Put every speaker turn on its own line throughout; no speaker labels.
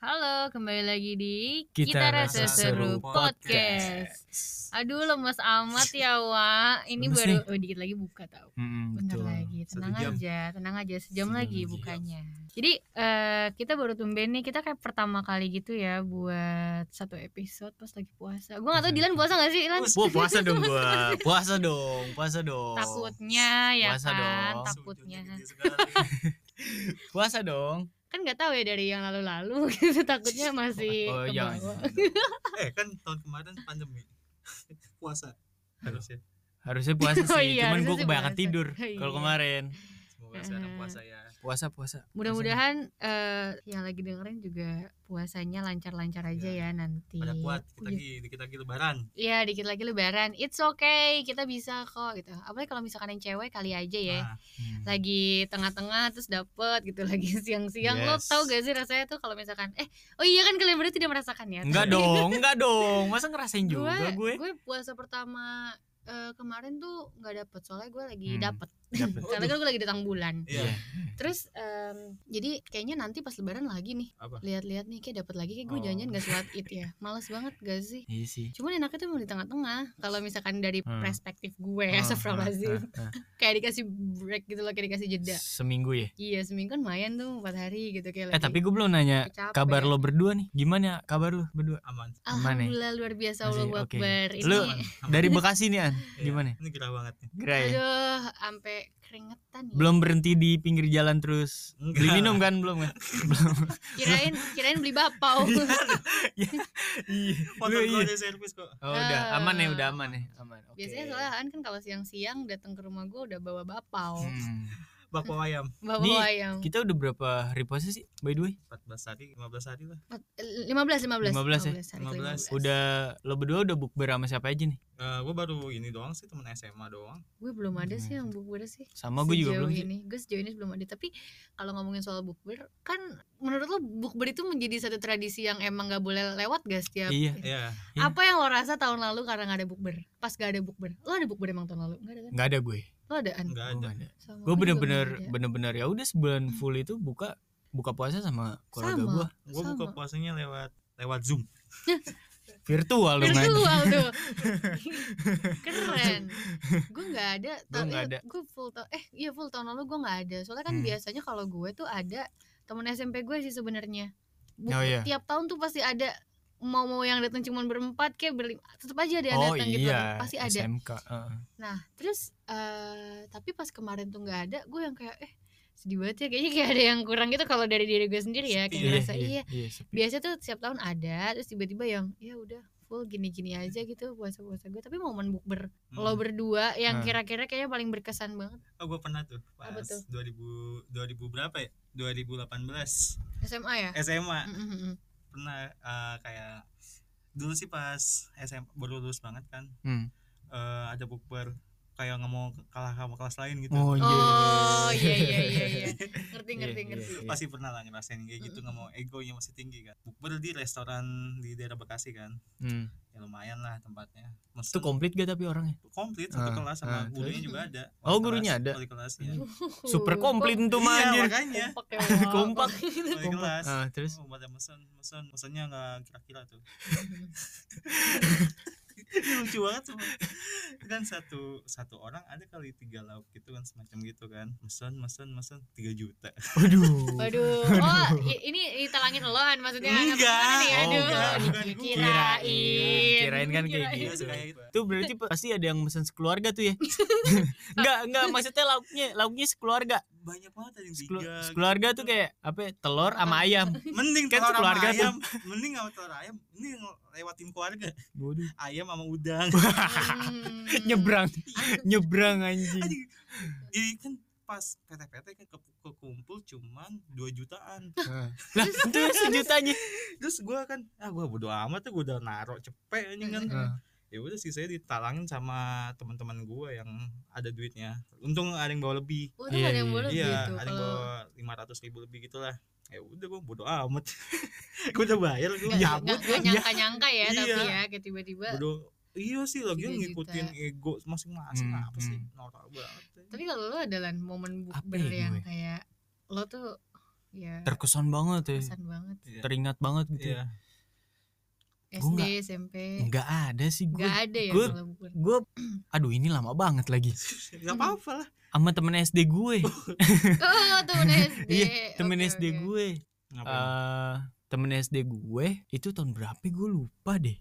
kembali lagi di
Kita Rasa
Podcast.
Seru Podcast.
Aduh lemes amat ya Wak. Ini
Lemes
baru oh, dikit lagi buka tau.
Mm-mm,
Bentar
betul.
lagi,
Satu
tenang
jam.
aja, tenang aja sejam
Sejam
lagi
lagi. iya.
bukanya. Jadi eh, kita baru tumben nih, kita kayak pertama kali gitu ya buat satu episode pas lagi puasa. Gua gak tau
Puasa.
Dilan puasa gak sih Dilan?
Wah, puasa dong gua. Puasa dong, puasa dong.
Takutnya ya
Puasa
kan,
dong.
takutnya.
gitu
Puasa dong.
Kan nggak tahu ya dari yang lalu-lalu gitu takutnya masih
Oh,
ke
iya.
bawah.
eh kan tahun kemarin pandemi puasa harusnya
Harusnya puasa sih,
Oh iya,
cuman
harusnya
gua
sih
kebanyakan
puasa.
tidur
Oh iya.
kalau kemarin.
semoga sekarang
Eh.
puasa ya
Puasa, puasa.
Mudah-mudahan eh yang lagi dengerin juga puasanya lancar-lancar aja ya,
Iya.
nanti.
pada kuat
Iya.
kita lagi dikit lagi lebaran
Iya, dikit lagi lebaran. It's okay, kita bisa kok gitu. Apalagi kalau misalkan yang cewek kali aja ya.
Puasanya.
Nah,
Hmm.
Lagi tengah-tengah terus dapet gitu lagi siang-siang. Lo
Yes.
tau gak sih rasanya tuh kalau misalkan eh oh iya kan kalian berarti tidak merasakan ya.
Enggak dong, enggak dong. Masa ngerasain
gue,
juga gue?
gue puasa pertama eh, kemarin tuh nggak dapet soalnya gue lagi
Hmm.
dapet
Dapet.
karena kan gue lagi di bulan
iya
Iya.
terus em, jadi kayaknya nanti pas lebaran lagi nih
apa
lihat-lihat nih kayak dapat lagi kayak gue
Oh.
janjian gak sholat id ya males banget gak sih
Iya sih.
cuman enaknya tuh emang di tengah-tengah kalau misalkan dari
Hmm.
perspektif gue ya
Ah,
astagfirullahaladzim
ah, ah,
kayak dikasih break gitu loh kayak dikasih
ah.
jeda
Seminggu ya.
iya seminggu kan lumayan tuh empat hari gitu kayak
Eh
lagi ya?
tapi gue belum nanya
capek.
kabar lo berdua nih. Gimana kabar lo berdua?
aman
alhamdulillah luar biasa Allah
Masih, oke.
Akbar ini
Lu-
aman, aman.
Dari Bekasi nih An.
Iya,
Gimana?
ini gerah banget nih
Gerai. ya?
aduh sampai keringetan ya.
Belum berhenti di pinggir jalan terus. Beli
Enggak.
minum kan belum kan? belum.
kirain kirain beli bapau
Iya.
motor
Lu
gua
iya.
ada servis kok
Oh, udah aman ya,
Ah.
udah aman ya, aman. Oke.
biasanya soalnya Aan kan kalau siang-siang datang ke rumah gue udah bawa bapau
Hmm.
bakpo ayam
bawa
Nih,
ayam
Kita udah berapa hari puasa sih? By the way,
14 hari 15 hari lah
Empat- eh, 15 15
15 ya?
hari ke
15.
15.
udah lo berdua udah bukber sama siapa aja nih?
Eh, gua baru ini doang sih temen SMA doang
gue belum ada
Gimana
sih
tuh?
yang bukber sih
Sama gue juga
Sejauh
belum. sih.
ini gue sejauh ini belum ada tapi kalau ngomongin soal bukber kan menurut lo bukber itu menjadi satu tradisi yang emang gak boleh lewat gak setiap
Iya.
ya
iya.
apa yang lo rasa tahun lalu karena gak ada bukber pas gak ada bukber lo ada bukber emang tahun lalu gak ada kan
Nggak ada gue.
lo ada an
enggak ada
Gue bener-bener bener-bener ya udah sebulan full itu buka buka puasa sama
Hmm.
keluarga
Sama.
gue
gua
Sama.
buka puasanya lewat lewat zoom
virtual dong anjing.
virtual tuh keren gue nggak ada
Gua nggak ada.
gue full tahun eh iya full tahun lalu gue nggak ada soalnya kan
Hmm.
biasanya kalau gue tuh ada temen SMP gue sih sebenarnya Bu-
Oh, iya.
tiap tahun tuh pasti ada mau mau yang datang cuma berempat kayak berlima tetap aja ada yang
Oh
datang gitu
iya,
pasti ada
SMK. heeh.
nah terus eh tapi pas kemarin tuh nggak ada gue yang kayak eh sedih banget ya kayaknya kayak ada yang kurang gitu kalau dari diri gue sendiri ya kayak
Sepi ya.
ngerasa iya
iya, sepi.
biasa tuh setiap tahun ada terus tiba-tiba yang ya udah full gini-gini aja gitu puasa-puasa gue tapi momen bukber
Hmm.
lo berdua yang
Hmm.
kira-kira kayaknya paling berkesan banget
oh, gua pernah tuh pas
Apa tuh?
2000 2000 berapa ya 2018
SMA
Eh.
ya
SMA
Mm, mm, mm.
pernah eh, kayak dulu sih pas SMA baru lulus banget kan
Hmm.
eh, ada bukber kayak nggak mau kalah sama kelas lain gitu
Oh iya.
oh iya iya iya iya ngerti
Iya,
ngerti
iya,
ngerti
iya.
pasti pernah lah ngerasain kayak gitu nggak mau
Hmm.
egonya masih tinggi kan bukber di restoran di daerah Bekasi kan
Hmm.
ya lumayan lah tempatnya
Itu
Maksudnya
komplit gak tapi orangnya?
komplit
Ah,
satu kelas
ah,
sama gurunya
terus?
juga ada
Oh,
Wali
gurunya
kelas-
ada?
ya. wali kelasnya
Super komplit tuh mah
iya
anjir.
makanya
kompak ya Wak.
Kompak.
wali
Kompak.
kelas
Ah, terus?
Oh, pada mesen mesen mesennya nggak kira-kira tuh lucu banget tuh kan satu satu orang ada kali tiga lauk gitu kan semacam gitu kan mesen mesen mesen tiga juta
Waduh.
Waduh, oh i- ini ditalangin eloan maksudnya
Enggak.
Gimana nih?
Oh,
Aduh,
enggak,
bukan gua.
kirain
Kirain kan kayak
Kirain.
iya
gitu.
suka kayak gitu
Itu berarti pasti ada yang mesen sekeluarga tuh ya. Enggak, enggak maksudnya lauknya, lauknya sekeluarga.
banyak banget ada yang
Sekelu-
gitu.
tiga
sekeluarga tuh kayak apa ya, telur sama ayam.
mending
Kan
telur sama
sekeluarga tuh.
ayam mending sama telur ayam mending lewatin keluarga
Waduh.
ayam sama udang
Hmm.
Nyebrang, nyebrang anjing.
Anjing. jadi kan pas PT-PT kan ke- kekumpul cuman 2 jutaan
Heeh. Nah, lah, itu ya sejutanya.
terus gua kan ah gua bodo amat tuh gua udah naruh cepet anjing kan
Heeh.
ya udah sih saya ditalangin sama teman-teman gua yang ada duitnya untung ada yang bawa lebih
Untung ada yang
Iya,
bolos
iya
gitu.
ada yang
kalau-
bawa lima ratus ribu lebih gitulah ya udah gua bodo amat gua udah bayar gua
Nggak-
cabut
nggak-
gua
kan?
nggak nyangka-nyangka ya
Iya.
tapi ya kayak tiba-tiba
bodo iya sih lagi
Tiga
ngikutin ego masing-masing
Hmm,
apa sih
hmm.
norak banget
tapi kalau lo adalah momen
Apa
bukber
ya
yang
gue?
kayak lo tuh ya
terkesan banget ya
kesan banget
Iya.
teringat banget gitu
Iya.
ya Gua
SD
nggak-
SMP
nggak ada sih gue
Iya. nggak ada ya
gue
kalau gue
gue aduh ini lama banget lagi
Hmm.
Gak apa-apa lah.
sama temen SD gue
oh temen SD
Iya, temen
Oke,
SD
oke.
gue
Ngapain?
eh temen SD gue itu tahun berapa gue lupa deh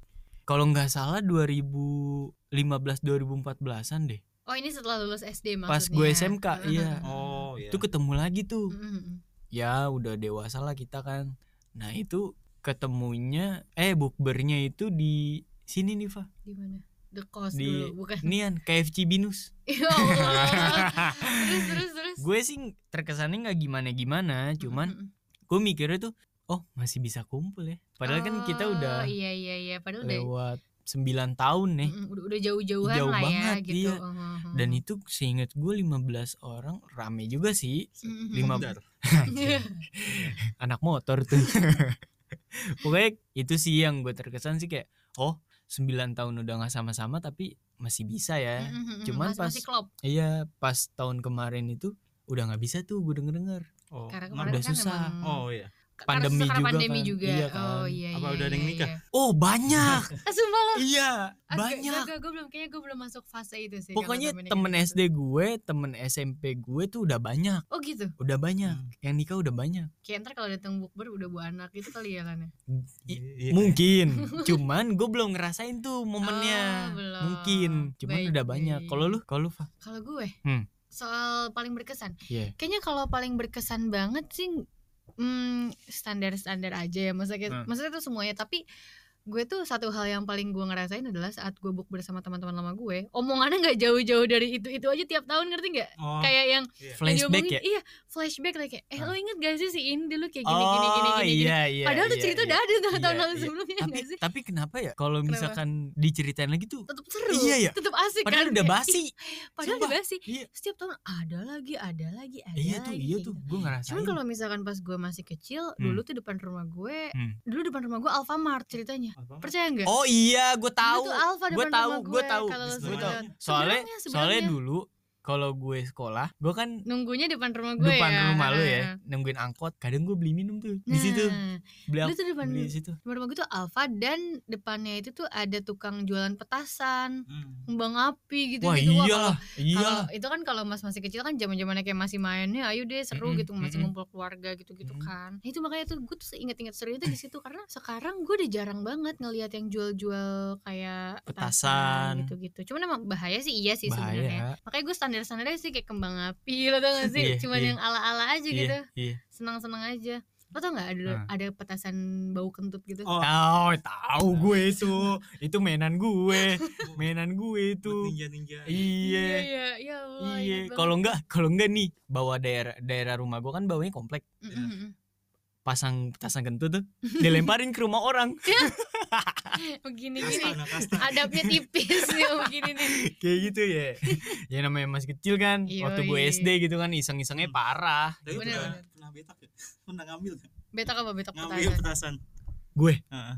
kalau nggak salah 2015 2014an deh
oh ini setelah lulus SD maksudnya Mm,
Pas gue SMK, iya.
oh iya.
itu ketemu lagi tuh
Mm-mm.
ya udah dewasa lah kita kan nah itu ketemunya eh bukbernya itu di sini nih Fa
di mana the cost
Di-
dulu bukan
nian KFC Binus
ya Allah terus terus terus Mm,
gue sih terkesannya nggak gimana gimana cuman
Mm-mm.
gue mikirnya tuh oh masih bisa kumpul ya padahal kan kita
Oh,
udah
iya iya iya padahal udah
lewat 9 tahun nih
Mm-mm, udah, udah jauh-jauhan
Jauh
lah ya
banget,
gitu
iya. dan itu seingat gue 15 orang rame juga
mm,
sih lima-
Hmm, Bentar.
Iya.
anak motor tuh pokoknya itu sih yang gue terkesan sih kayak oh 9 tahun udah nggak sama-sama tapi masih bisa
Mm,
ya cuman
pas masih
pas-
klop
iya pas tahun kemarin itu udah nggak bisa tuh gue denger denger
Oh,
karena
ngap-
kemarin
nah, udah
kan
susah.
memang-
Oh iya.
karena
pandemi
sekarang
juga
pandemi
kan.
juga
Iya
oh
kan.
iya
Apa
iya,
udah ada yang
iya,
nikah?
iya.
oh banyak
ah sumpah lo
iya
Ah, gak-
banyak
gak- gak, gue belum kayaknya gue belum masuk fase itu sih kalau
pokoknya
nikah
temen
gitu.
SD gue temen SMP gue tuh udah banyak
oh gitu
udah banyak
Hmm.
yang nikah udah banyak
kayak ntar kalau datang bukber udah bawa anak gitu kali ya kan ya?
I-
Iya,
mungkin Ah. cuman gue belum ngerasain tuh
Oh,
momennya
belum.
mungkin cuman
Baik,
udah banyak
baik.
kalau lu kalau lu Fa?
kalau gue
Hmm.
soal paling berkesan
Iya.
kayaknya kalau paling berkesan banget sih hmm, standar standar aja ya maksudnya
Hmm.
maksudnya itu semuanya tapi gue tuh satu hal yang paling gue ngerasain adalah saat gue bukber sama teman-teman lama gue omongannya nggak jauh-jauh dari itu itu aja tiap tahun ngerti nggak
Oh,
kayak yang yang
flashback
diomongin,
ya
iya flashback lah kayak eh
Ah.
lo inget gak sih si ini dulu kayak gini gini gini
oh
gini, gini.
iya iya
padahal tuh
iya,
cerita
iya.
udah ada tahun tahun
Iya,
lalu
iya.
sebelumnya
tapi
nggak sih
tapi kenapa ya kalau
Kenapa?
misalkan diceritain lagi tuh
tetap seru
Iya, iya.
tetap asik
padahal
kan
udah
Kayak,
basi
ih, padahal
Sumpah.
udah basi
Iya.
setiap tahun ada lagi ada lagi ada
iya tuh
lagi
iya
kayak
tuh
gitu.
gue ngerasain
Cuman kalau misalkan pas gue masih kecil,
Hmm.
dulu tuh depan rumah gue,
Hmm.
dulu depan rumah gue Alfamart ceritanya.
apa?
Percaya nggak?
oh iya gue tahu
Dulu tuh Alfa
gue
depan
tahu
rumah
gue tahu
kalau lo
Di
gue tahu
sebelahnya.
sempet.
soalnya
Sebelahnya,
soalnya
sebelahnya.
dulu kalau gue sekolah gue kan
nunggunya depan rumah gue
depan
ya.
rumah lu ya nungguin angkot kadang gue beli minum tuh di
Nah,
situ
Dulu
beli ang-
tuh depan
beli di situ
depan rumah gue tuh Alfa dan depannya itu tuh ada tukang jualan petasan,
Hmm.
kembang api gitu
wah
gitu.
iyalah
Kalau
iyalah
itu kan kalau Mas masih kecil kan zaman-zamannya kayak masih mainnya ayo deh seru
Mm-mm,
gitu masih
mm-mm.
ngumpul keluarga gitu-gitu
Mm-mm.
kan. Nah, itu makanya tuh gue tuh seingat-ingat seru itu di situ karena sekarang gue udah jarang banget ngelihat yang jual-jual kayak
Petasan.
gitu-gitu. Cuman emang bahaya sih iya sih sebenarnya.
bahaya
Makanya gue standar-standarnya sih kayak kembang api lo tau gak
Iya,
sih? Cuman
iya.
yang ala-ala aja gitu.
iya iya
Senang-senang aja. Lo tau gak ada,
Hmm.
ada petasan bau kentut gitu?
Oh,
tahu tahu gue itu itu mainan gue mainan gue itu
ninja ninja.
iya
iya, ya Allah.
iya
ingat banget.
kalau enggak kalau enggak nih bawa daerah daerah rumah gue kan bawanya komplek
Mm-mm.
pasang pasang kentut tuh dilemparin ke rumah orang
Begini-gini.
Kasta, kasta.
adabnya tipis nih begini nih
kayak gitu ya ya namanya masih kecil kan waktu gue
Yoi.
SD gitu kan iseng-isengnya
Hmm.
parah
Tapi
Bener,
pernah,
bener.
pernah betak ya? Pernah ngambil kan?
betok apa betok
Ngambil
petasan
petasan.
gue
Heeh.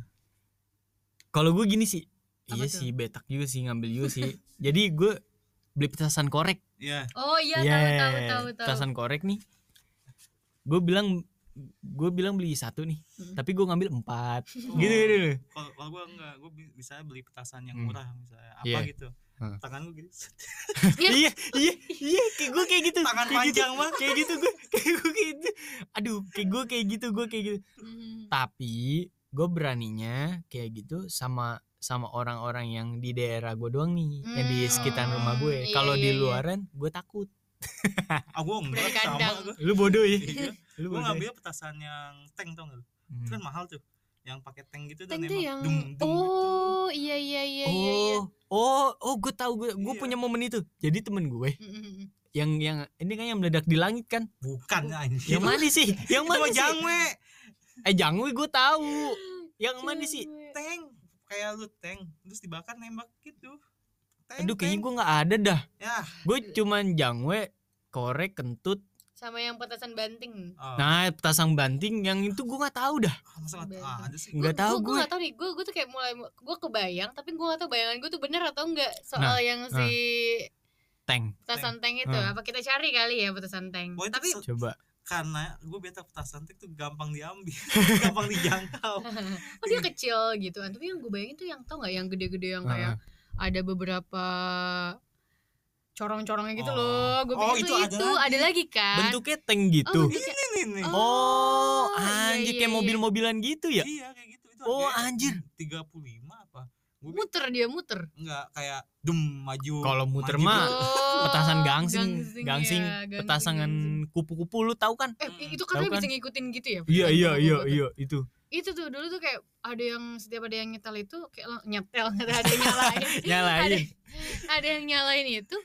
kalau gue gini sih
Apa
iya
tuh?
sih betak juga sih ngambil juga sih jadi gue beli petasan korek
Iya.
oh iya tahu
Yeah,
tahu tahu tahu
petasan korek nih gue bilang gue bilang beli satu nih
Mm.
tapi gue ngambil empat
Hmm.
Oh.
gitu gitu
Iya.
loh.
Kalau kalau gue enggak, gue bi- bisa beli petasan yang
Hmm.
murah misalnya apa
Iya.
gitu.
Heeh.
Tangan gue gitu.
Iya.
iya iya iya kayak gue kayak gitu
Tangan
kayak gitu,
panjang banget.
kayak gitu gue kayak gue kayak gitu aduh kayak gue kayak gitu gue kayak gitu
Mhm.
tapi gue beraninya kayak gitu sama sama orang-orang yang di daerah gue doang nih yang di
Hmm,
sekitar rumah
iya,
gue kalau
iya,
di
iya.
luaran gue takut
Ah, gue enggak
Dari kandang.
sama gue.
lu bodoh ya lu
Gue
bodoh ya.
ngambil petasan yang tank tau gak? lu?
Hmm.
Itu kan mahal tuh. Yang pakai tank gitu dan
tank tuh
nembak.
yang
Dung, gitu. dung,
oh iya iya iya iya iya
Oh, oh, oh, gue tahu gue, gue
Iya.
punya momen itu. Jadi temen gue
Oh.
Mhm.
yang yang ini kan yang meledak di langit kan?
Bukan anjing.
Yang mana sih? Yang
Itu
mana
mah
sih?
jangwe.
Eh jangwe gue tahu. Yang mana sih?
Cewek.
Tank. Kayak lu tank. Terus dibakar nembak gitu. Tank,
Aduh kayaknya
tank.
gue nggak ada dah.
Ya.
Gue cuman jangwe, korek, kentut.
sama yang petasan banting
Oh,
Nah pasang banting yang itu gue nggak tahu dah.
ah, masa nggak
Bayangkan.
ada sih?
Nggak tahu
gue
gue.
gak tau nih gue gue tuh kayak mulai gue kebayang tapi gue gak tau bayangan gue tuh bener atau enggak soal
Nah,
yang si
Tank.
petasan tank itu
Hmm.
apa kita cari kali ya petasan tank
Pokoknya
tapi
itu se-
Coba.
karena gue beta tas cantik tuh gampang diambil gampang dijangkau
oh dia kecil gitu kan tapi yang gue bayangin tuh yang tau nggak yang gede-gede
Nah,
yang kayak ada beberapa corong-corongnya gitu
Oh.
loh gue
Oh,
pikir
itu
tuh
ada
itu, ada, lagi kan
bentuknya tank gitu
oh,
oh,
bentuknya-
ini nih
Oh, iya,
anjir
iya,
kayak
iya.
mobil-mobilan gitu ya
iya kayak gitu itu
Oh, anjir.
tiga puluh lima apa gue
muter dia muter
nggak kayak dem maju
Kalau muter
Iya. maju,
mah, Ah,
oh,
petasan gangsing gangsing,
ya, gangsing,
petasangan
gangsing.
kupu-kupu lu tahu kan
eh i- itu kan
Tahu
dia bisa
kan?
ngikutin gitu ya
iya
petasan
iya
sama
iya
gua tuh.
iya itu
itu tuh dulu tuh kayak ada yang setiap ada yang nyetel itu kayak lang- nyetel nyetel ada yang nyalain ada,
nyalain
ada yang nyalain itu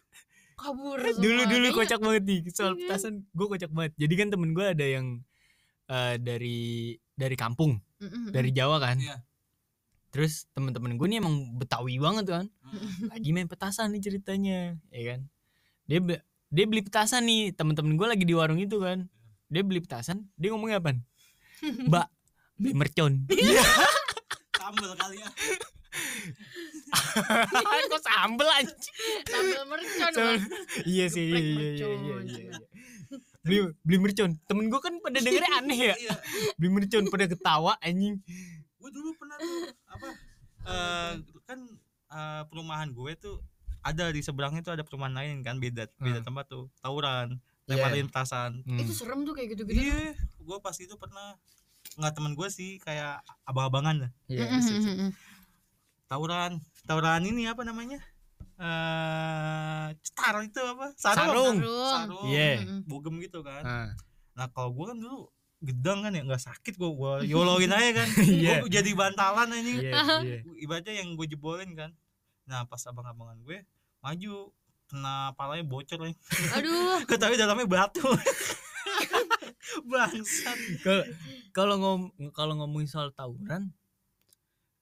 kabur semua.
dulu dulu
Kayaknya-
kocak banget nih soal
Iya.
petasan gue kocak banget jadi kan temen gue ada yang eh, dari dari kampung
Mm-mm.
dari Jawa kan
Iya.
terus temen-temen gue nih emang Betawi banget kan
Mm.
lagi main petasan nih ceritanya ya kan dia be- dia beli petasan nih temen-temen gue lagi di warung itu kan dia beli petasan dia ngomongnya apa mbak beli mercon
sambel kali ya
kok sambel anjing
sambil mercon
Sambel.
Bang.
iya sih iya
Geprek
iya iya iya,
mercon.
iya, iya. beli beli mercon temen gue kan pada dengernya aneh ya
iya
beli mercon pada ketawa anjing
gue dulu pernah tuh apa eh kan eh, perumahan gue tuh ada di seberangnya tuh ada perumahan lain kan beda
Hmm.
beda tempat tuh tawuran
Iya.
lemparin petasan
Hmm.
itu serem tuh kayak gitu-gitu tuh.
iya gue pas itu pernah nggak teman gue sih kayak abang-abangan lah
Iya.
Mm-mm,
bisa- bisa.
mm-mm.
tawuran tawuran ini apa namanya eh cetar itu apa sarung
Sarung.
Sarung.
Iya.
Mm-mm.
bugem gitu kan
Ah,
nah kalau gue kan dulu gedang kan ya nggak sakit gue gue yoloin aja kan
Iya.
gue jadi bantalan aja
iya iya
ibaratnya yang gue jebolin kan nah pas abang-abangan gue maju kena palanya bocor nih
aduh
ketahui dalamnya batu bangsat
Kalau kalau ngom kalau ngomongin soal tawuran,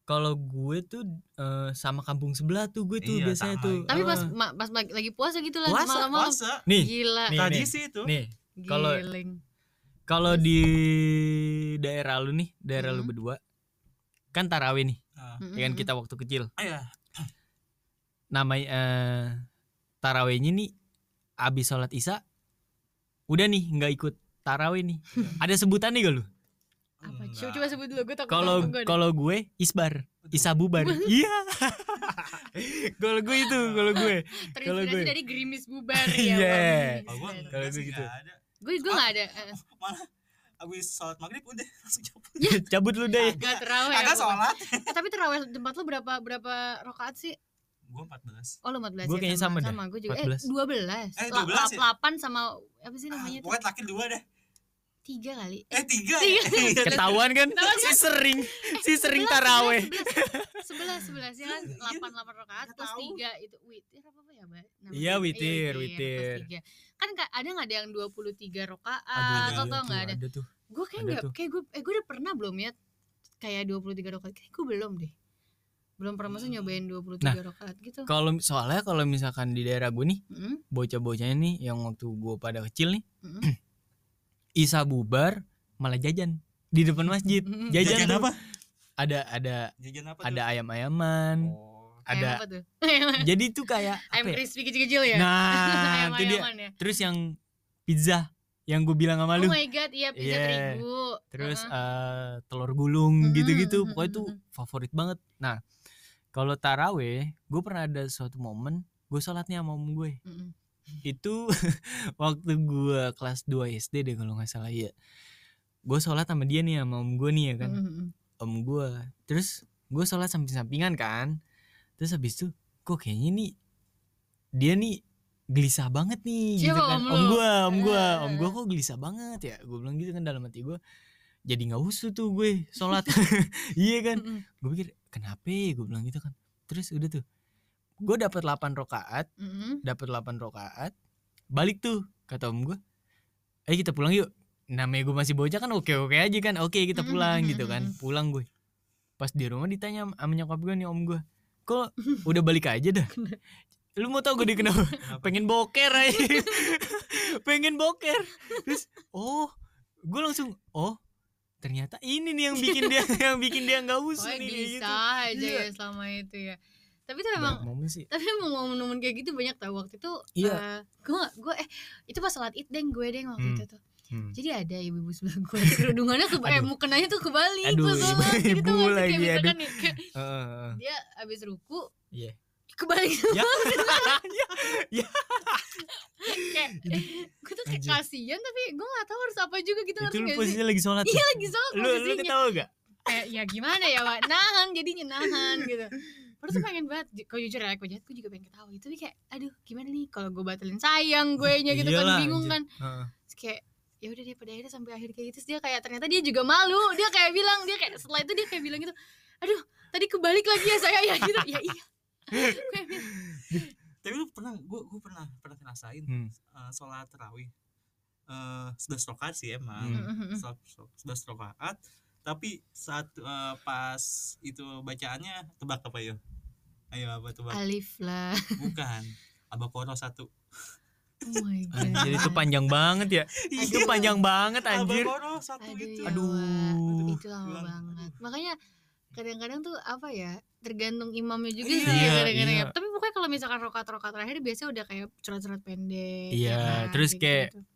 kalau gue tuh eh, sama kampung sebelah tuh gue tuh
Iya,
biasanya
sama.
tuh.
tapi pas iya.
eh,
ma- pas lagi lagi puasa gitu lah
Puasa,
malam-malam
masa
nih
gila
Nih,
tadi
nih.
sih itu
nih kalau-
giling
kalau di daerah lu nih, daerah lu
Mhm.
berdua kan tarawih nih,
Nah,
Mm-mm,
ya kan
mm-mm.
kita waktu kecil.
iya.
Namanya eh, tarawihnya nih abis sholat isya udah nih nggak ikut tarawih nih.
Iya.
Ada sebutan nih gak lu?
apa
Enggak.
coba coba sebut dulu gue takut
Mm, Kalau
takut gua deh.
kalau gue isbar,
Betul.
isa bubar. Iya. kalau gue itu, kalau gue. kalau
terinspirasi
gue-
dari gerimis bubar ya
Iya.
kalau
gue
gue
Kalau
kalau
gitu.
gitu ada
gue gue nggak ada eh,
malah abis sholat maghrib udah langsung cabut
cabut lu deh
nggak terawih
agak
aku.
sholat
Eh, tapi terawih tempat lo berapa berapa rokaat sih
gue 14
oh lo 14 ya,
Gua kayaknya sama dah.
sama gue juga eh 12
14.
Eh,
La-
12 ya? Ah,
8 sama apa sih namanya tuh
pokoknya terakhir dua deh
tiga kali
eh tiga
Tiga.
ya
ketahuan kan
Ketahuan
si sering si sering
Sebelas,
taraweh
sebelas sebelas sebelas, ya kan
Iya, iya.
delapan delapan rakaat
Nggak
plus
tahu.
tiga itu witir apa apa ya mbak Namanya?
Iya, witir,
plus
witir.
tiga. kan ka- ada nggak ada yang dua puluh tiga rakaat
Aduh,
atau nggak Ah, ada
tuh
gue kayak
Ada
nggak
tuh.
kayak gue eh gue udah pernah belum ya kayak dua puluh tiga rakaat kayak gue belum deh belum pernah masa
Hmm.
nyobain dua puluh
Nah.
tiga rakaat gitu
kalau soalnya kalau misalkan di daerah gue nih
Mm,
bocah-bocahnya nih yang waktu gue pada kecil nih
mm.
isa bubar malah jajan di depan masjid
Hmm,
jajan,
jajan
tuh.
apa
ada ada
jajan apa tuh?
ada ayam-ayaman
Oh.
Ayam
ada
apa tuh?
jadi tuh kayak
ayam
apa ya?
crispy kecil-kecil ya
nah itu dia
Ayam-ayaman ya?
terus yang pizza yang gue bilang sama
oh
lu
my Uh-huh. god iya pizza
Iya.
terigu
terus
Heeh.
eh, telur gulung
Mm,
gitu-gitu
mm,
pokoknya
mm,
itu
mm.
favorit banget nah kalau taraweh gue pernah ada suatu momen gue sholatnya sama om gue
Uh-huh. Mm-mm.
itu waktu gue kelas 2 SD deh kalau nggak salah ya gue sholat sama dia nih sama om gue nih ya kan
Mm-mm.
om gue terus gue sholat samping-sampingan kan terus habis itu kok kayaknya nih dia nih gelisah banget nih gitu
Siapa
kan
om
om
lu?
gue om gue om
Eh.
gue kok gelisah banget ya gue bilang gitu kan dalam hati gue jadi nggak usuh tuh gue sholat iya kan
Mm-mm.
gue pikir kenapa gue bilang gitu kan terus udah tuh gue dapat 8 rokaat
Mm-mm.
dapat 8 rokaat balik tuh kata om gue ayo kita pulang yuk namanya gue masih bocah kan oke oke aja kan oke kita
Hmm,
pulang gitu kan pulang gue pas di rumah ditanya sama nyokap gue nih om gue kok udah balik aja dah lu mau tau gue dia kenapa
Kenapa?
pengen boker aja pengen boker terus oh gue langsung oh ternyata ini nih yang bikin dia yang bikin dia nggak usah
Pokoknya
nih kayak
gelisah
gitu
aja
Iya.
ya selama itu ya tapi tuh emang
Banyak momen sih
tapi emang momen-momen kayak gitu banyak tau waktu itu
Iya.
eh, gue gue eh itu pas sholat id deng gue deng waktu
Hmm.
itu tuh
Hmm.
Jadi ada ibu-ibu sebelah gue kerudungannya ke eh
Aduh.
mukanya tuh kebalik
Aduh,
pas sholat. Jadi
ibu-ibu
tuh nggak sih, kayak
lagi,
misalkan nih, kayak
Heeh.
dia abis ruku
Iya.
kebalik
Ya.
kayak gue tuh kayak
Anjir.
kasihan tapi gue nggak tahu harus apa juga gitu
Itu
ngerti
lu
nggak sih?
posisinya lagi sholat.
Iya
ya?
lagi sholat
Lu lu
posisinya
ketawa gak?
kayak ya gimana ya pak nahan jadinya nahan gitu Padahal tuh pengen banget Ju- Kalau jujur ya Aku jahat Gue juga pengen ketawa gitu. Tapi kayak Aduh gimana nih Kalau gue batalin sayang gue nya gitu kan
Iyalah,
Bingung
Iya anjir.
kan
Heeh.
Terus kayak ya udah deh pada akhirnya sampai akhir kayak gitu Terus dia kayak ternyata dia juga malu dia kayak bilang dia kayak setelah itu dia kayak bilang gitu aduh tadi kebalik lagi ya saya ya gitu ya iya gitu. Gue bilang,
tapi lu pernah gua gua pernah pernah ngerasain
Hmm.
eh, sholat terawih eh sebelas rakaat sih emang
Hmm.
"Mm-mm-mm."
sholat sebelas rakaat tapi saat eh, pas itu bacaannya tebak apa yo ayo apa tebak
alif lah
bukan abah koro satu
oh my god
Anjir itu panjang banget ya. Itu
Iya,
panjang banget
abah
anjir.
koro satu
Aduh,
gitu. itu
ya
Aduh. iya.
Allah. itu lama
Bilang,
banget makanya kadang-kadang tuh apa ya tergantung imamnya juga
Iya,
sih ya kadang-kadang
iya.
ya. tapi pokoknya kalau misalkan rokat-rokat terakhir biasanya udah kayak surat-surat pendek
Iya,
kan,
terus kayak
gitu-gitu.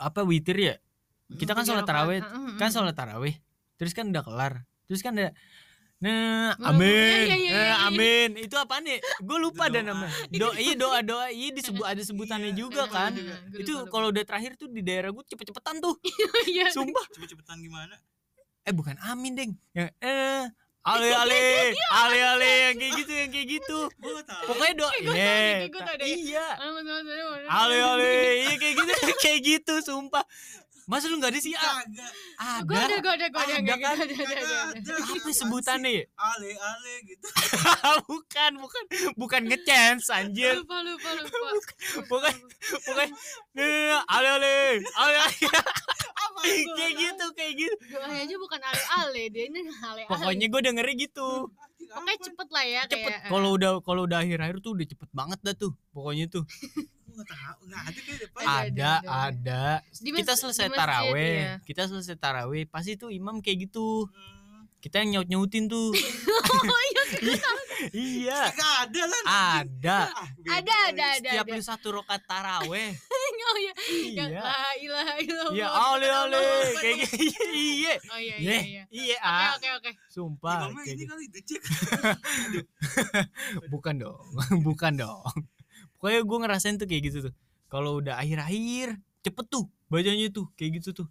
Apa witir ya? Kita kan
Tiga
sholat
rakaat,
tarawih,
heeh,
Kan
heeh.
sholat tarawih. Terus kan udah kelar. Terus kan ada Nah,
Hmm,
amin.
iya, iya,
Eh,
iya, iya.
amin. Itu apa nih? Gue lupa
Doa.
dan namanya. Doa, iya doa doa. Iya disebut ada sebutannya
Iya,
juga
Heeh,
kan.
heeh, heeh. Gua
Itu
lupa-lupa.
kalau udah terakhir tuh di daerah gue cepet-cepetan tuh.
Iya.
Sumpah.
cepet-cepetan gimana
Eh bukan amin deng. Ya, eh ale ale
gitu. Iya,
ale ale yang kayak gitu yang kayak gitu.
gua gak tahu
Pokoknya doa.
Eh, gua tahu
Iya,
deh, gua tahu
ta-
deh.
Iya.
Aduh, mas, mas, aduh, aduh.
Ale ale iya kayak gitu kayak gitu sumpah. Mas lu nggak ada sih ah,
kagak
Gue Iya. ada, gitu,
ada.
gue ada, gue ada,
Ada
enggak,
kan?
ada, ada, ada,
kagak
ada.
ada
Apa sebutannya? ya?
ale ale gitu
bukan, bukan, bukan ngechance anjir.
Lupa, lupa, lupa.
Iya. bukan. Pokoknya eh, ale ale ale ale.
apa itu?
kayak gitu kayak gitu.
Doanya aja bukan ale-ale, dia ini ale-ale.
Pokoknya gue dengernya gitu.
Pokoknya cepet lah ya
cepet
kayak, Hmm, eh,
kalau udah kalau udah akhir akhir tuh udah cepet banget dah tuh pokoknya tuh
Gua nggak tahu nggak ada kayak gitu, depan
Ada, ada,
ada ada,
ada. Di mas-
kita
di
selesai
masjid,
taraweh
iya.
kita selesai taraweh pasti tuh imam kayak gitu
Hmm,
kita yang nyaut nyautin tuh
Oh iya,
iya
kagak ada lah
ada
Ah, beda
ada, ada,
lagi.
ada.
setiap
ada.
lu satu rokat taraweh
Oh iya. Yang
iya
la ilaha illallah.
iya ale ale kayak gitu iya
Oh iya, iya,
iya
iya.
iya
Oke,
ah
oke, oke.
sumpah
Imamnya
kayak
ini
gitu.
kali dicek
bukan dong bukan dong pokoknya gue ngerasain tuh kayak gitu tuh kalau udah akhir akhir cepet tuh bacanya tuh kayak gitu tuh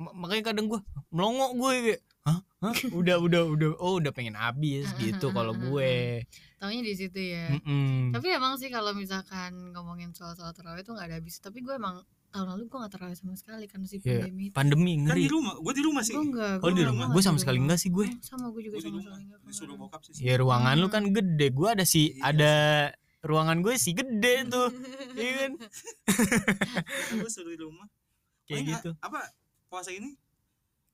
Ma- makanya kadang gue melongo gue kayak hah hah udah udah udah oh udah pengen habis gitu kalau gue
Taunya di situ ya.
Hmm. Mm-mm.
Tapi emang sih kalau misalkan ngomongin soal soal taraweh itu nggak ada habis. Tapi gue emang tahun lalu gue nggak taraweh sama sekali karena si
Iya.
pandemi. itu.
pandemi
kan
ngeri
di rumah gue di rumah sih
Gue nggak.
kalau di
nggak-
rumah
nggak
gue
Oh, di
sama sekali
rumah.
enggak sih gue
Hmm, Sama gue juga
gue di
sama
rumah
sekali nggak.
disuruh bokap sih
ya ruangan lu
Hmm.
kan gede gue ada si
Iya.
ada ruangan gue si gede tuh iya kan
gue suruh di rumah
kayak
Paling,
gitu
a- apa puasa ini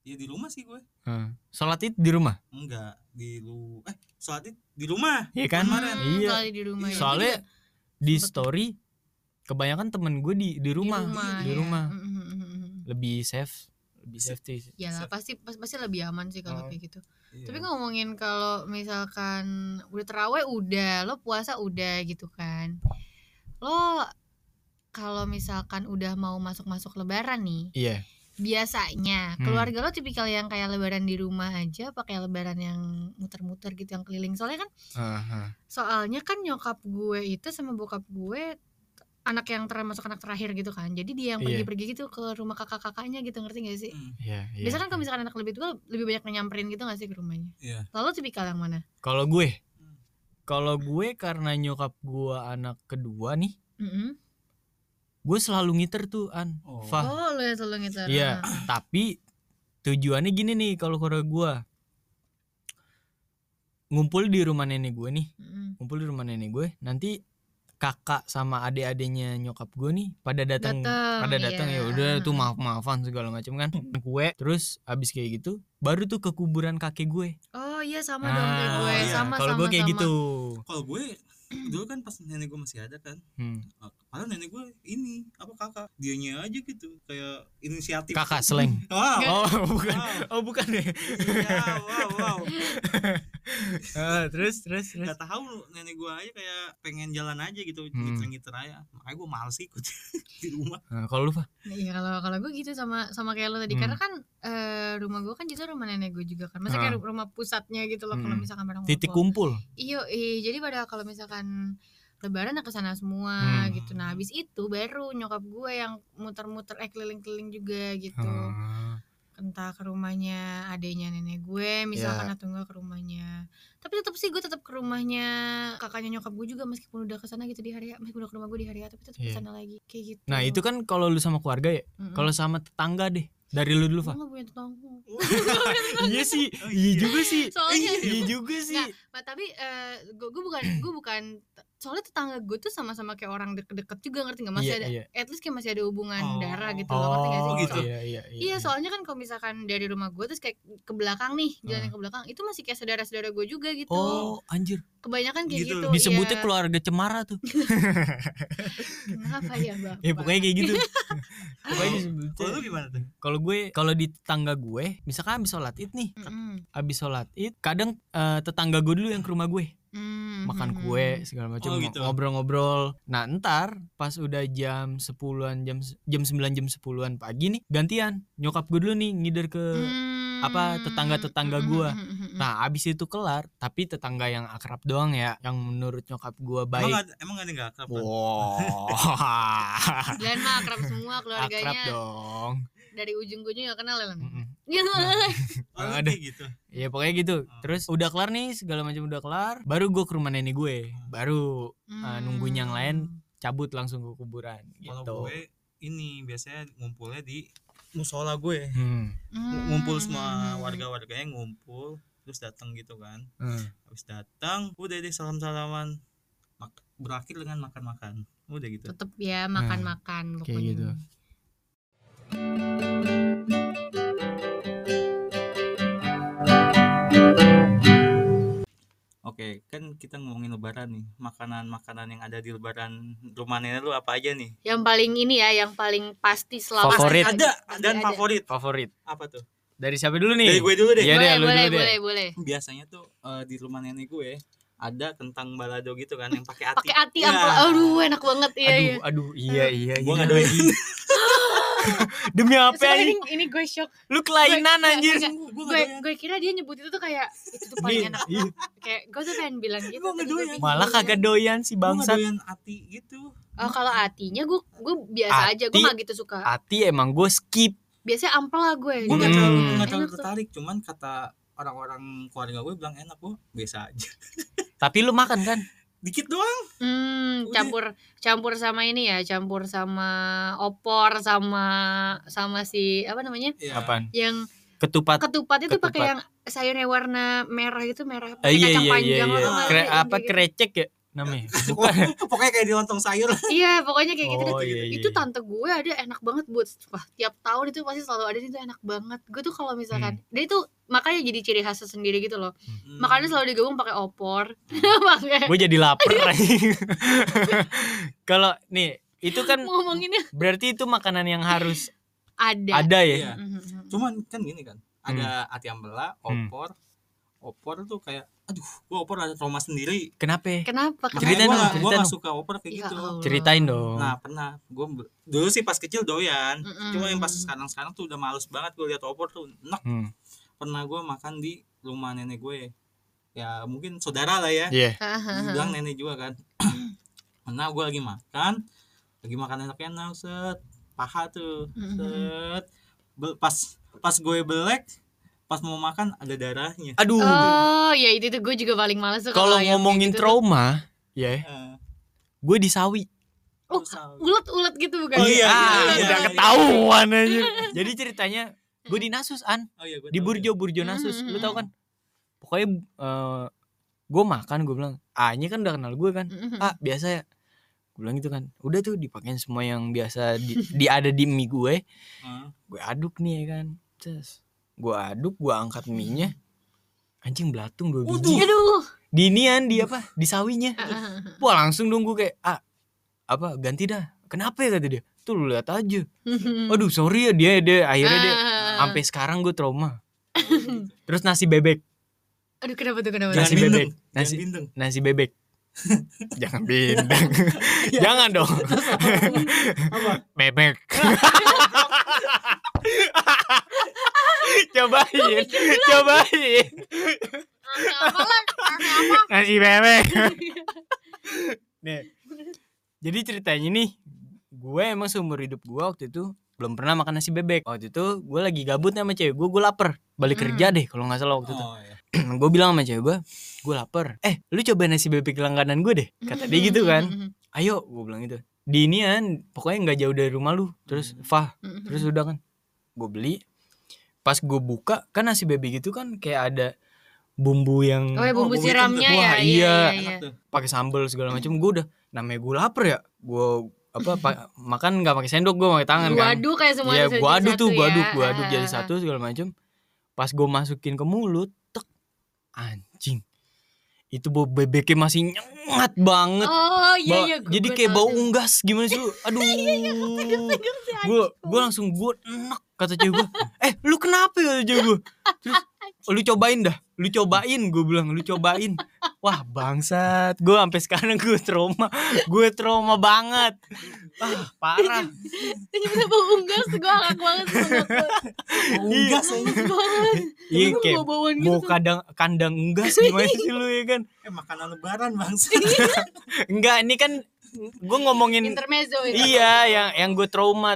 ya di rumah sih gue
Heeh. sholat itu di rumah
enggak di lu eh sholat id di rumah
iya kan
Kemarin.
iya
Kali di rumah. ya.
soalnya
Gua juga
di
sempet-
story kebanyakan temen gue di di
di
rumah
rumah.
di
ya.
rumah.
Mm, mm, mm, mm.
lebih safe lebih safety
Ya lah, pasti pas- pasti lebih aman sih kalau
Oh.
kayak gitu. Tapi ngomongin kalau misalkan udah terawih udah, lo puasa udah gitu kan. Lo kalau misalkan udah mau masuk-masuk lebaran nih,
iya
biasanya
Hmm.
keluarga lo tipikal yang kayak lebaran di rumah aja apa kayak lebaran yang muter-muter gitu yang keliling soalnya kan
Aha.
soalnya kan nyokap gue itu sama bokap gue t- anak yang termasuk anak terakhir gitu kan jadi dia yang
Iya.
pergi-pergi gitu ke rumah kakak-kakaknya gitu ngerti gak sih
Hmm,
iya iya.
biasanya kan kalau misalkan anak lebih tua lebih banyak yang nyamperin gitu gak sih ke rumahnya
Iya.
lalu tipikal yang mana
kalau gue kalau gue karena nyokap gue anak kedua nih
Mm-mm.
gue selalu ngiter tuh an
Oh.
Fah.
oh lo yang Nah, selalu ngitar
Ah. iya tapi tujuannya gini nih kalau keluarga gue ngumpul di rumah nenek gue nih
Mm-mm.
ngumpul di rumah nenek gue nanti kakak sama adik-adiknya nyokap gue nih pada datang
datang
pada datang
iya.
ya udah tuh maaf maafan segala macam kan
Hmm.
kue terus abis kayak gitu baru tuh ke kuburan kakek gue
oh iya sama dong kayak gue
iya.
sama
Nah, kalau
sama
gue kayak
sama.
gitu
kalau gue dulu kan pas nenek gue masih ada kan
Hmm.
Ah, padahal nenek gue ini apa kakak dianya aja gitu kayak inisiatif
kakak seleng
wow
oh bukan
wow
oh bukan ya
iya, wow wow
Ah, terus terus terus
nggak tahu nenek gue aja kayak pengen jalan aja gitu
Hmm.
ngiter-ngiter aja makanya gue males ikut di rumah
Ah, kalau lu Fah?
Iya kalau kalau gue gitu sama sama kayak lo tadi
Hmm.
karena kan eh, rumah gue kan justru rumah nenek gue juga kan masa kayak ru- rumah pusatnya gitu loh kalau
Ah. Hmm.
misalkan barang
titik kumpul
Iya, iya, jadi pada kalau misalkan lebaran ya ke sana semua
Hmm.
gitu. Nah, habis itu baru nyokap gue yang muter-muter eh keliling-keliling juga gitu.
Ah.
Entah ke rumahnya adenya nenek gue misalkan
Ya.
atau enggak ke rumahnya. Tapi tetap sih gue tetap ke rumahnya kakaknya nyokap gue juga meskipun udah ke sana gitu di hari meskipun udah ke rumah gue di hari tapi tetap ke
Iya.
sana lagi kayak gitu.
nah itu kan kalau lu sama keluarga ya
Mm-mm.
kalau sama tetangga deh dari lu
gue
dulu Fah
nggak punya tetangga.
iya sih
Oh,
iya
iya.
juga sih
Soalnya
iya juga sih
Nah, tapi gue bukan gue bukan soalnya tetangga gue tuh sama-sama kayak orang deket-deket juga ngerti nggak masih
Iya,
ada
iya.
at least kayak masih ada hubungan
Oh.
darah gitu loh ngerti nggak sih
oh
gitu.
iya iya iya
Iya soalnya kan kalau misalkan dari rumah gue terus kayak ke belakang nih jalan ke belakang itu masih kayak saudara-saudara gue juga gitu
Hmm. oh anjir
kebanyakan kayak
Gitu.
gitu,
disebutnya
iya.
keluarga cemara tuh
kenapa ya bapak
ya pokoknya kayak gitu pokoknya disebutnya
kalau lu gimana tuh
kalau gue kalau di tetangga gue misalkan habis sholat id nih
Mm-mm.
habis sholat id kadang eh, tetangga gue dulu yang ke rumah gue
Mm-mm.
makan
Hmm.
kue segala macam
Oh, gitu.
ngobrol-ngobrol nah ntar pas udah jam 10-an jam jam 9 jam 10-an pagi nih gantian nyokap gue dulu nih ngider ke
Mm.
apa, tetangga-tetangga gua.
Mm-mm.
Hmm.
nah abis itu kelar tapi tetangga yang akrab doang ya yang menurut nyokap gue
emang
baik
ada emang ada nggak akrab kan?
wah
Glenn mah akrab semua
akrab
keluarganya
dong
dari ujung ujungnya nggak kenal ya Len.
Mm-mm. Nah,
Oh, lu
Ada.
kayak gitu
Ya pokoknya gitu.
Ah.
Terus udah kelar nih segala macam udah kelar, baru gue ke rumah nenek gue. Baru Ah, nungguin yang lain. cabut langsung ke kuburan
kalau
gitu.
gue ini biasanya ngumpulnya di musola gue
Hmm.
Mm.
Ng- ngumpul semua warga-warganya ngumpul terus datang gitu kan
Hmm.
habis datang udah deh salam-salaman Mak- berakhir dengan makan-makan udah gitu
tetep ya makan-makan
Nah, kayak
pokoknya.
gitu.
Oke, kan kita ngomongin lebaran nih. Makanan-makanan yang ada di lebaran rumah nenek lu apa aja nih?
Yang paling ini ya, yang paling pasti selama
Favorit.
pasti
Ada
pasti
dan
ada.
favorit.
Favorit.
Apa tuh?
Dari siapa dulu nih?
Dari gue dulu deh.
Iya deh,
boleh,
lu
boleh,
dulu deh.
boleh, boleh.
Biasanya tuh eh, di rumah nenek gue ada kentang balado gitu kan yang pakai ati.
Pakai hati
Iya.
ampela. Aduh, enak banget ya.
aduh,
ya.
aduh, iya iya.
Gue
iya.
enggak doain.
Demi apa
Sumpah
anjing?
ini, ini gue shock.
Lu kelainan
Gue-
anjir.
enggak,
Gue
Gue
enggak doain.
gue kira dia nyebut itu tuh kayak itu tuh paling enak.
Iya.
Kayak gue tuh pengen bilang gitu.
Gua
tapi
ngedoyan.
bingung.
Malah kagak doyan si
Gua nggak
bangsat.
doyan ati gitu.
Oh, kalau hatinya gue gue biasa aja, gue
Hati.
gak gitu suka.
Hati emang gue skip.
Biasanya ampela gue.
Gue enggak terlalu
Hmm.
nggak terlalu
Enak tuh.
tertarik, cuman kata orang-orang keluarga gue bilang enak gue biasa aja.
Tapi lu makan kan?
Dikit doang.
Hmm,
Udah.
campur campur sama ini ya, campur sama opor sama sama si apa namanya?
Ya.
Apaan?
Yang
Ketupat.
ketupatnya tuh pakai
Ketupat.
yang sayurnya warna merah itu merah
Eh,
pakai
iya
kacang
iya iya.
panjang
iya.
apa nggak sih?
Kre-
Yang kayak
apa
gitu.
krecek ya namanya? Bukan.
Pokoknya, pokoknya kayak di lontong sayur.
Iya, pokoknya kayak gitu
Oh,
deh.
iya, iya,
Itu
iya.
tante gue ada enak banget buat wah, tiap tahun itu pasti selalu ada itu enak banget. Gue tuh kalau misalkan
Hmm.
dia itu makanya jadi ciri khas sendiri gitu loh. Makannya selalu digabung pakai opor. Pakai-
gue jadi
Iya.
lapar anjing. kalau nih itu kan
Ngomonginnya
berarti itu makanan yang harus
ada.
ada
Iya.
ya
Mhm, mhm.
cuman kan gini kan ada ati ambela
Hmm.
opor opor tuh kayak aduh gua opor ada trauma sendiri
kenapa
Kenapa?
makanya
Ceritain
gua
dong,
gak, gua
ceritain
gak
dong.
suka opor kayak
Ya
gitu
Allah.
ceritain dong
nah pernah gua be- dulu sih pas kecil doyan
Mm-mm.
cuma yang pas sekarang sekarang tuh udah males banget gua lihat opor tuh enak
hmm.
pernah gua makan di rumah nenek gue ya mungkin saudara lah ya
Iya.
bilang nenek juga kan nah gua lagi makan lagi makan enak-enak set paha tuh
Mhm.
set Be- pas pas gue belek pas mau makan ada darahnya
aduh
Oh, ya itu tuh gue juga paling males tuh yang
kalau
kayak
ngomongin
gitu tuh.
trauma ya
Eh,
gue disawi
Oh,
terus-
ulet-ulet gitu bukan?
Oh, iya,
ah
iya, iya,
udah
iya.
ketahuan aja jadi ceritanya gue di nasus an
Oh iya, gua
di
tahu
burjo burjo nasus
Hmm,
lu
hmm,
tau kan pokoknya gue makan gue bilang a nya kan udah kenal gue kan
Mhm.
ah biasa ya gue bilang gitu kan udah tuh dipakein semua yang biasa di, di ada di mie gue
tuh. Heeh.
gue aduk nih ya kan terus gue aduk gue angkat mie nya anjing belatung dua
Waduh.
biji
Aduh,
di inian di apa di sawinya
Ah,
wah langsung dong gue kayak ah apa ganti dah kenapa ya kata dia tuh lu lihat aja
Hmm.
aduh sorry ya dia dia akhirnya dia
Ah.
sampai sekarang gue trauma terus nasi bebek
Aduh kenapa tuh kenapa Ah,
Jangan
tuh?
Nasi bebek.
bindeng
Nasi-
jangan bindeng
nasi bebek jangan bintang jangan dong
Apa?
bebek cobain cobain
Nasi apa lan? Nasi apa?
nasi bebek Nih. Jadi ceritanya nih, gue emang seumur hidup gue waktu itu belum pernah makan nasi bebek. Waktu itu gue lagi gabut nih sama cewek gue, gue lapar. Balik
Hmm.
kerja deh kalau nggak salah waktu itu.
Oh, iya.
gue bilang sama cewek gue, gue lapar. Eh, lu coba nasi bebek langganan gue deh. Kata dia gitu kan.
Mm-hmm.
Ayo, gue bilang gitu. Di ini kan, pokoknya nggak jauh dari rumah lu. Terus, Fah, terus udah kan. Gue beli. Pas gue buka, kan nasi bebek itu kan kayak ada bumbu yang
Oh ya
Oh,
bumbu
bumbu
siramnya
hitam
ya.
tuh. Wah, iya.
Enak tuh.
pakai sambel segala macam gue udah namanya gue lapar ya gue apa pa- makan nggak pakai sendok gue pakai tangan kan
Waduh kayak semua
Iya,
bisa jadi
gua aduk tuh
satu
gua
ya.
aduk gua aduk jadi
Ah,
satu segala macam pas gue masukin ke mulut tek anjing itu bau bebeknya masih nyengat banget
Oh iya
Ba-
iya. gua-
jadi
gua
kayak
tahu
bau
tuh. Iya,
unggas gimana sih lu aduh gue gue langsung gue enak kata cewek gue eh lu kenapa ya kata cewek gue terus "Oh, lu cobain dah lu cobain gue bilang lu cobain wah bangsat gue sampai sekarang gue trauma gue trauma banget ah parah
Ini bisa bau unggas gua agak banget sama gua.
Oh, Unggas aja.
Banget.
iya
Lu
kayak
bau-bauan gitu.
mau kadang kandang unggas gimana sih lu ya kan
Eh, makanan lebaran bangsa.
enggak ini kan gue ngomongin
Intermezzo itu.
iya yang yang gue trauma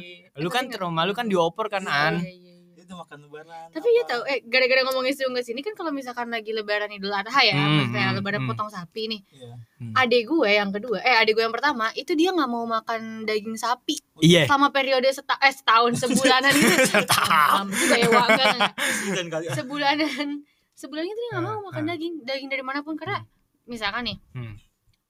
ya, Iya, iya.
lu
Eh,
kan
tapi
trauma lu kan dioper kan
nggak-
an
Iya, iya, iya.
Itu makan lebaran.
Tapi
apa?
ya tahu eh gara-gara ngomongin si unggas ini kan kalau misalkan lagi lebaran Idul Adha ya,
Hmm,
maksudnya
hmm,
lebaran
hmm.
potong sapi nih.
Iya.
Adik gue yang kedua, eh adik gue yang pertama itu dia nggak mau makan daging sapi
iya
selama periode seta eh setahun sebulanan itu.
Setahun.
Lama juga ya, Wak, enggak, enggak.
Segan kali.
Sebulanan sebulan itu dia nggak mau
Ah,
makan
ah.
daging, daging dari manapun karena misalkan nih
Hmm.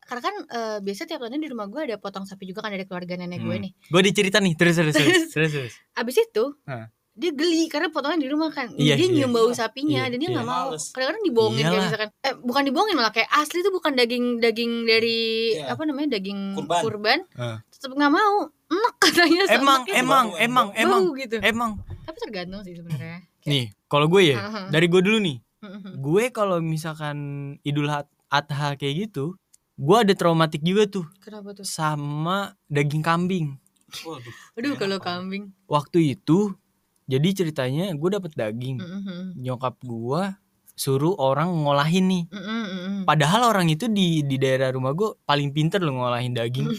karena kan eh, biasa tiap tahun di rumah gue ada potong sapi juga kan dari keluarga nenek gue
Hmm.
nih.
Gue dicerita nih terus terus terus terus. terus.
Abis itu
Ah.
dia geli karena potongan di rumah kan.
Iya,
dia
iya.
nyium bau sapinya
Iya,
dan dia
iya.
nggak mau.
Males.
Kadang-kadang dibohongin kayak
Iyalah.
misalkan eh bukan dibohongin malah kayak asli tuh bukan daging daging dari
Iya.
apa namanya daging kurban,
Kurban.
Ah.
tetap nggak mau. Enak katanya sama
Emang
kayak
emang
bau,
emang
bau
emang
gitu.
emang.
Tapi tergantung sih sebenarnya.
Nih kalau gue ya
Heeh.
dari gue dulu nih. Gue kalau misalkan Idul Hat- Adha kayak gitu, gue ada traumatik juga tuh
Kenapa tuh?
sama daging kambing.
Waduh.
Aduh kalau
Kenapa?
kambing.
Waktu itu jadi ceritanya gue dapet daging.
Mm-mm.
Nyokap gue suruh orang ngolahin nih.
Mm-mm, mm-mm.
Padahal orang itu di di daerah rumah gue paling pinter loh ngolahin daging.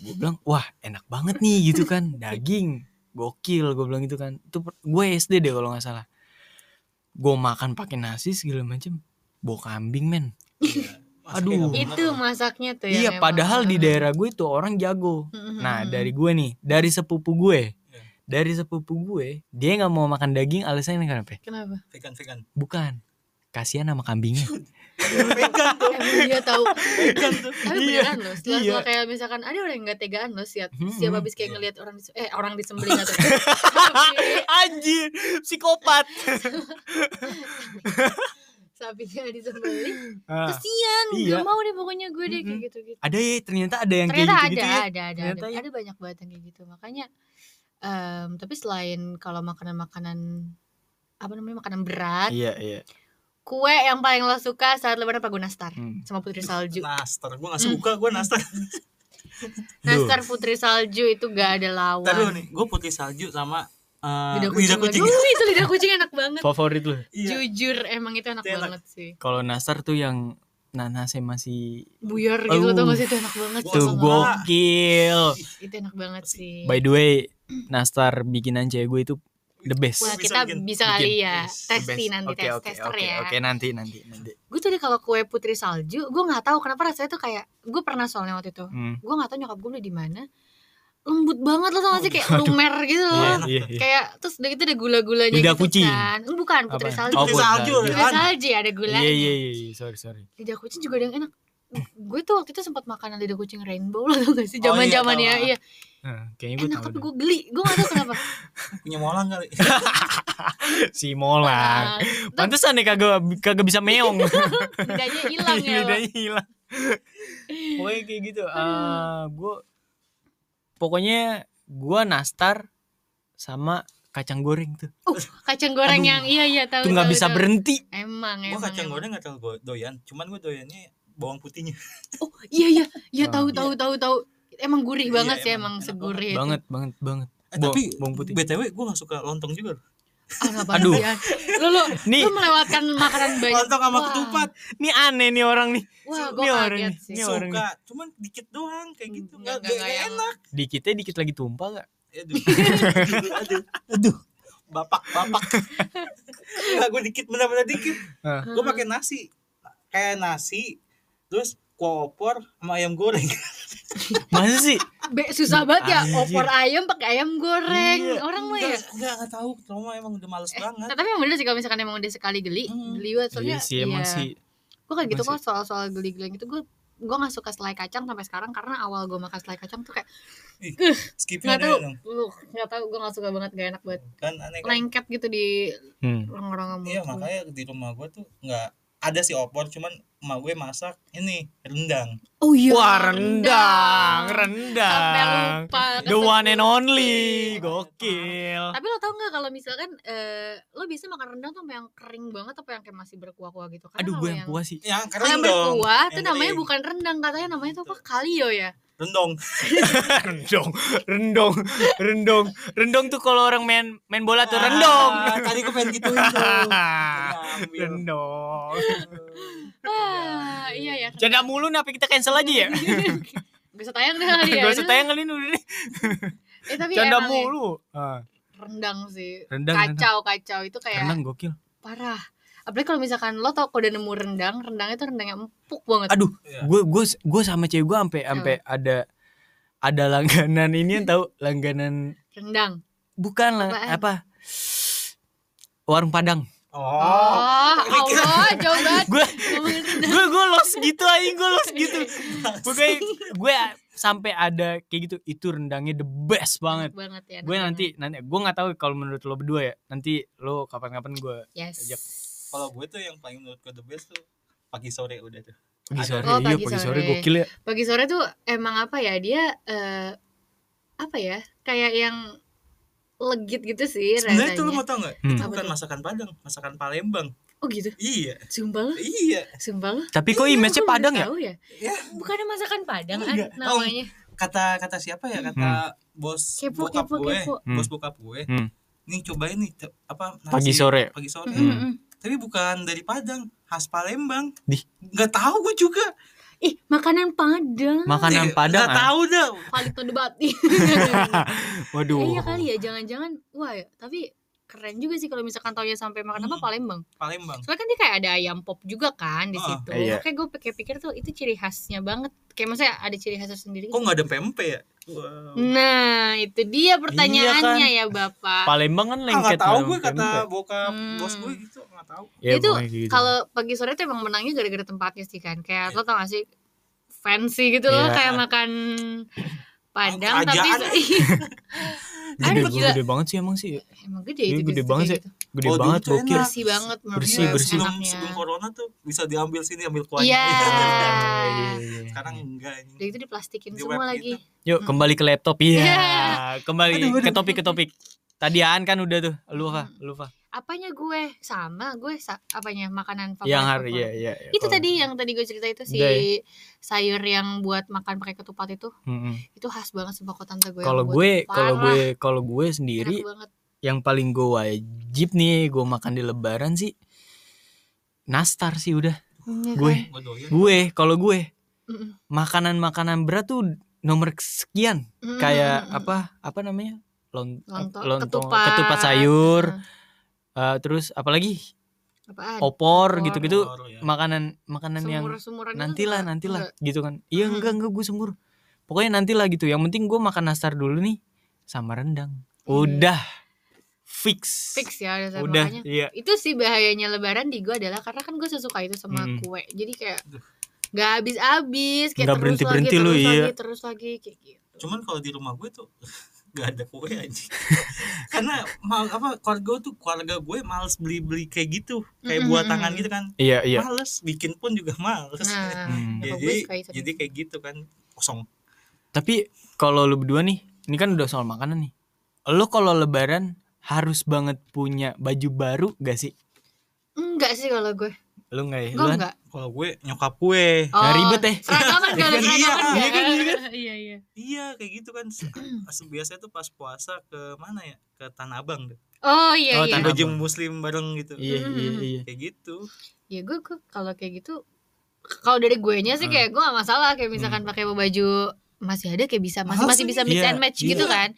gue bilang wah enak banget nih gitu kan daging gokil gue bilang gitu kan itu per- gue SD deh kalau nggak salah gue makan pakai nasi segala macem bau kambing men
Iya. Mas, kayak
Aduh.
gak
Itu
bener.
masaknya tuh
iya
yang emang- Hmm.
padahal di daerah gue itu orang jago
Mm-mm.
nah dari gue nih dari sepupu gue
Iya.
dari sepupu gue dia nggak mau makan daging alasannya kenapa
Kenapa?
vegan vegan.
bukan kasihan sama kambingnya
Emang dia tahu.
Vegan tuh.
Tapi beneran
Iya,
loh. Setelah,
iya. Hmm,
setelah kayak misalkan ada orang yang gak tegaan loh siap
Mm-mm.
siap habis
Iya.
kayak ngelihat orang dis- eh orang disembelih atau
anjir psikopat
sapinya disembelih.
Ah.
Kesian,
Iya.
gak mau deh pokoknya gue deh kayak
Mm-mm.
gitu-gitu.
ada ya ternyata ada yang
Ternyata
kayak gitu,
ada,
ya
ada, ada, ada,
Ternyata ya.
ada banyak banget yang kayak gitu. Makanya em, tapi selain kalau makanan-makanan apa namanya makanan berat,
iya iya
kue yang paling lo suka saat lebaran apa gue nastar
Hmm.
sama putri salju.
Nastar. Gue gak suka gue nastar.
Duh.
Nastar putri salju itu gak ada lawan.
Ntar dulu nih. Gue putih salju sama eh,
lidah kucing.
lidah kucing.
Aduh, itu lidah kucing enak banget.
Nah. favorit lu
Iya.
Jujur emang itu enak
Itu enak.
banget sih.
kalau nastar tuh yang nanasnya masih
Buyar gitu tau gak
Aduh.
sih itu enak banget.
Wah,
tuh
Itu
gua-
gokil
Itu enak banget sih.
by the way nastar bikinan cewek gue itu the best
Wah,
Bisa
kita
bikin.
bisa
Bikin.
kali ya
Yes,
The best.
testi nanti
Oke,
tes
oke,
tester
oke,
ya.
oke nanti nanti nanti
Gue tadi kalau kue putri salju, gue nggak tahu kenapa rasanya tuh kayak gue pernah soalnya waktu itu.
Hmm.
Gue nggak tahu nyokap gue beli di mana. Lembut banget loh tau gak sih kayak lumer gitu loh.
Iya, iya, iya.
Kayak terus udah gitu ada gula-gulanya
Lidah
gitu
kucing.
kan. Bukan putri
Apaan?
salju.
Oh,
Putri salju.
Putri
Apaan?
salju ya, ada
Iya
gulanya.
iya iya iya, sorry sorry.
lidah kucing
Oh,
juga ada yang enak gue tuh waktu itu sempat makanan lidah kucing rainbow loh tau gak sih zaman zaman
tahu.
ya iya
Eh, kayaknya gue
enak
tahu
tapi
deh.
gue geli gue gak tau kenapa
punya molang kali
Iya,
si
Nah,
molang pantesan nih kagak kagak bisa meong
lidahnya hilang ya lo.
lidahnya Iya, hilang pokoknya kayak gitu Eh, gue pokoknya gue nastar sama kacang goreng tuh
uh, kacang goreng
Aduh.
yang iya iya tahu
tuh nggak
tahu,
bisa Oh,
tahu.
berhenti
emang
gue
emang
kacang
emang.
goreng gak tau gue doyan cuman gue doyannya bawang putihnya
oh iya iya iya
Ah.
tahu tahu tahu tahu emang gurih
Iya,
banget sih
emang
emang
enak
segurih itu.
banget banget banget
Eh,
Bo-
tapi
bawang putih
btw gue gak suka lontong juga
Ah, nggak apa-apa,
Aduh.
Dian. Lu lu
Nih.
lu melewatkan makanan banyak.
lontong sama
Wah.
ketupat
ini aneh nih orang nih
Wah,
Ini
gue
orang
kaget
nih.
sih.
Ini orang.
suka cuman dikit doang kayak gitu
Nggak- Hmm, nggak-
nggak nggak
nggak yang-
enak
dikitnya dikit lagi tumpah gak
aduh aduh aduh, aduh. bapak bapak nggak gue dikit benar-benar dikit
Heeh.
gue pakai nasi kayak nasi terus kuah opor sama ayam goreng
masa sih
Ah, Be, susah banget ya
Anjir.
opor ayam pakai ayam goreng.
Iya.
Orang mah ya.
nggak nggak nggak tahu trauma emang udah males banget
Tapi emang bener sih kalau misalkan emang udah sekali geli,
Hmm.
geli banget soalnya.
iya sih emang
iya.
sih
Gue kan gitu
emang
kok soal-soal geli-gelian gitu gue gue gak suka selai kacang sampai sekarang karena awal gue makan selai kacang tuh kayak
skipnya
nggak
ada
tahu,
ya, dong
uh, nggak tahu gue gak suka banget gak enak banget
kan aneh kan
lengket gitu di
Hmm.
orang-orang mulut
iya
gue.
makanya di rumah gue tuh nggak ada sih opor cuman emak gue masak ini rendang
Oh iya.
Wah rendang,
Sampai
rendang.
lupa.
The one and only,
Iya.
gokil.
Tapi lo tau gak kalau misalkan eh, lo bisa makan rendang tuh sama yang kering banget atau yang kayak masih berkuah-kuah gitu? Karena
Aduh,
kalau
gue yang puas sih.
yang
Kalau yang
keren dong
berkuah tuh
Yang
namanya
kering.
bukan rendang katanya namanya tuh apa? Kalio ya?
rendong
rendong, rendong, rendong, rendong tuh kalau orang main main bola tuh rendong.
Ah, tadi gue pengen gituin tuh Ambil.
rendong.
Ah, iya ya.
Janda mulu napi kita cancel aja ya.
Iya, Gak usah tayang deh kali ya.
Gak usah tayang kali ini udah deh.
Eh, tapi
Janda
emang ya,
mulu. Ah,
rendang sih.
Rendang,
kacau ya. kacau itu kayak
rendang gokil.
parah. Apalagi kalau misalkan lo tau kalau udah nemu rendang, rendangnya tuh rendang yang empuk banget.
Aduh,
Iya.
gue gue gue sama cewek gue sampai sampai ada ada langganan ini yang tahu langganan
Rendang.
bukan lah
Apaan?
apa warung Padang.
oh
Allah, jauh banget.
Gue
Ngomongin rendang.
gue gue los gitu aja gue los gitu
Iya,
gue gue sampai ada kayak gitu itu rendangnya the best banget
banget ya.
gue
rendang.
nanti nanti gue nggak tahu kalau menurut lo berdua ya nanti lo kapan-kapan gue
Yes.
ajak.
kalau gue tuh yang paling menurut gue the best tuh pagi sore udah tuh
pagi
Ada.
sore
Oh,
iya
pagi
pagi sore
sore.
gokil ya
Pagi sore tuh emang apa ya dia eh, apa ya kayak yang legit gitu sih
sebenarnya tuh
rasanya.
lu mau tau nggak
Hmm.
itu
Apa
bukan
tuh?
masakan padang masakan palembang
Oh gitu.
iya
Sumpah lo,
iya
sumpah lo.
tapi kok image-nya
Gua baru
Padang ya
tahu ya?
Ya.
Bukannya masakan Padang
Enggak.
Ad, namanya.
kata kata siapa ya kata bos
Kepo,
bokap
kepo,
gue
kepo.
bos bokap gue
Hmm.
nih cobain nih te- apa nasi-
pagi sore
pagi sore
Mm-mm.
Hmm.
tapi bukan dari Padang khas Palembang
Dih.
nggak tahu gue juga
Ih, makanan Padang.
makanan
Eh,
Padang
nggak
ah.
tahu dah
Paling tuh debat.
waduh
Iya kali ya, jangan-jangan wah ya, tapi keren juga sih kalau misalkan taunya sampai makan apa
Hmm.
Palembang.
Palembang
Soalnya kan dia kayak ada ayam pop juga kan di
Ah,
situ.
iya.
Makanya gue pikir-pikir tuh itu ciri khasnya banget. Kayak maksudnya ada ciri khas tersendiri.
kok nggak ada PMP ya wow.
Nah, itu
Iya
dia pertanyaannya
kan?
ya, Bapak.
Palembang kan
Ah,
lengket gitu.
nggak tahu
Padang
gue kata
Palembang.
bokap
Hmm.
bos gue gitu nggak tahu
Ya,
Itu
pokoknya kayak gitu.
Kalau pagi sore tuh emang menangnya gara-gara tempatnya sih kan. Kayak lo tau gak sih fancy gitu loh
Iya.
kayak makan Padang tapi
Kerajaan.
gede,
Aduh, gila.
gede banget sih emang sih
emang gede itu
Iya, gede
bisnis
banget
kayak
sih. gede
Oh, dulu
banget
tuh
gitu.
gokil
enak.
Bersih banget menurut
Iya. Bersih,
gue,
bersih.
ya, sebelum
enaknya.
sebelum corona tuh bisa diambil sini ambil kuahnya
Iya.
sekarang enggak ini
Udah gitu diplastikin
Di
semua
web gitu.
lagi.
Yuk kembali ke laptop Iya
Iya.
Kembali
Aduh, aduh.
ke topik ke topik Tadi Aan kan udah tuh Lu apa? Lu apa?
Apanya gue sama gue sa- apanya makanan favorit.
Yang hari
favorit.
ya, ya, ya
itu tadi yang tadi gue cerita itu si
Udah iya.
sayur yang buat makan pakai ketupat itu itu khas banget sumpah kok tante gue yang
Kalau
buat.
gue Kalau
Parah,
gue Kalau gue
enak
sendiri
banget
Yang paling gue wajib nih Gue makan di lebaran sih Nastar sih udah
Iya
Gue
kan?
gue doyan
Gue Kalau gue
Mm-mm.
Makanan-makanan berat tuh Nomor sekian
Mm-mm.
Kayak
Mm-mm.
apa Apa namanya? Lon-
Lonto-
lontong-
ketupat.
ketupat sayur
Mm.
Eh, Terus apalagi
apaan
Opor
Opor.
gitu-gitu
Baru ya.
Makanan Makanan yang
sumuran
nantilah nantilah gitu kan iya enggak enggak gue sembur pokoknya nantilah gitu yang penting gue makan nastar dulu nih sama rendang udah Iya. fix
fix ya udah,
udah
makanya
iya
itu sih bahayanya lebaran di gue adalah karena kan gue sesuka itu sama
Mm.
kue jadi kayak nggak habis habis kayak
Nggak
terus lagi
berhenti-berhenti
terus
lu,
lagi
iya.
terus lagi kayak gitu
cuman kalau di rumah gue tuh gak ada kue aja karena mal apa keluarga gue tuh keluarga gue males beli beli kayak gitu kayak
Mm,
buat
mm,
tangan
mm.
gitu kan
iya iya
males bikin pun juga males
Nah,
Hmm.
Nyokap gue
jadi
suka itu nih.
jadi kayak gitu kan kosong
tapi kalau lu berdua nih ini kan udah soal makanan nih lu kalau lebaran harus banget punya baju baru gak sih
enggak sih kalau gue.
lu nggak ya
Gue
Lu kan-
enggak.
kalau gue
nyokap gue
Oh.
Nah, ribet ya.
Seragaman gak ada
Iya,
seragaman
iya
gak
kan, iya
ada. Iya iya.
iya kayak gitu kan Se- se- biasanya tuh pas puasa ke mana ya ke Tanah Abang deh
Oh iya
Oh,
iya.
tanah-
baju
Abang.
muslim bareng gitu
iya iya iya
kayak gitu
Ya gue gue kalau kayak gitu kalau dari gue nya sih
Hmm.
kayak gue gak masalah kayak misalkan pakai baju masih ada kayak bisa masih
Males
masih
sih.
bisa mix
Iya,
and match
iya.
gitu kan.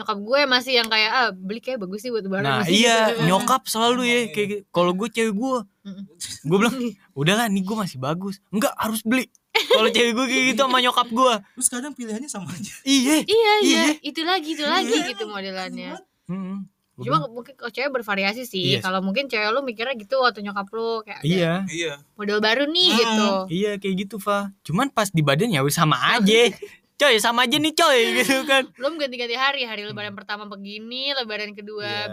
Nyokap gue masih yang kayak ah beli kayak bagus sih buat lebaran
nah
masih
iya
gitu.
nyokap selalu ya kayak gitu. kalau gue cewek gue
iya. Mm-mm.
gue bilang udahlah nih gue masih bagus enggak harus beli kalau cewek gue kayak gitu sama nyokap gue
terus kadang pilihannya sama aja
iya
Iya
Iya.
iya, itu lagi itu lagi gitu modelannya.
Mm-mm. Gua
Cuma mungkin kalau cewek bervariasi sih.
Yes.
Kalau mungkin cewek lu mikirnya gitu waktu nyokap lu kayak
bilang,
ada
iya
iya
model baru nih
Hmm.
gitu.
iya kayak gitu Fa cuman pas di badan ya udah sama aja coy sama aja nih coy gitu kan
Belum ganti-ganti hari, hari lebaran pertama begini, lebaran kedua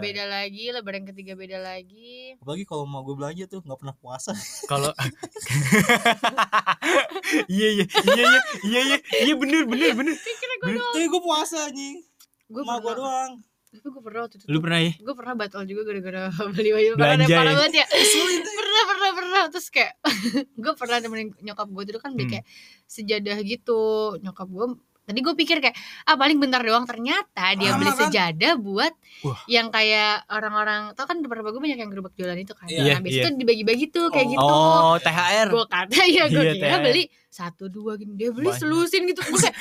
Iya.
beda lagi, lebaran ketiga beda lagi.
apalagi kalau mau gue belanja tuh nggak pernah puasa
kalau iya iya iya iya iya iya iya bener bener bener
tapi gue puasa anjing
Gue
mau gue
pernah,
doang
tapi gue pernah waktu itu.
lu pernah ya
Gue pernah batal juga gara-gara beli baju lebaran yang
Belanja
parah
ya?
banget ya. pernah pernah pernah terus kayak gue pernah nemenin nyokap gue dulu kan beli
Hmm.
kayak sejadah gitu. Nyokap gue tadi gue pikir kayak ah paling bentar doang ternyata dia
Lama
beli
kan?
sejadah buat
Ah, Wah.
yang kayak orang-orang tau kan beberapa gue banyak yang gerobak jualan itu kan.
Iya,
nah, habis
iya.
itu dibagi-bagi tuh
Oh.
kayak gitu.
oh thr
gue kata ya gue
Iya,
kira
THR.
beli satu dua gini dia beli
Banyak.
selusin gitu gue kayak